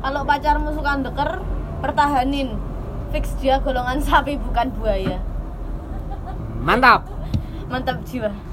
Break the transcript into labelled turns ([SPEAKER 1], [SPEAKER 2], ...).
[SPEAKER 1] kalau pacarmu suka ndeker pertahanin fix dia golongan sapi bukan buaya
[SPEAKER 2] Mantap.
[SPEAKER 1] mantap jiwa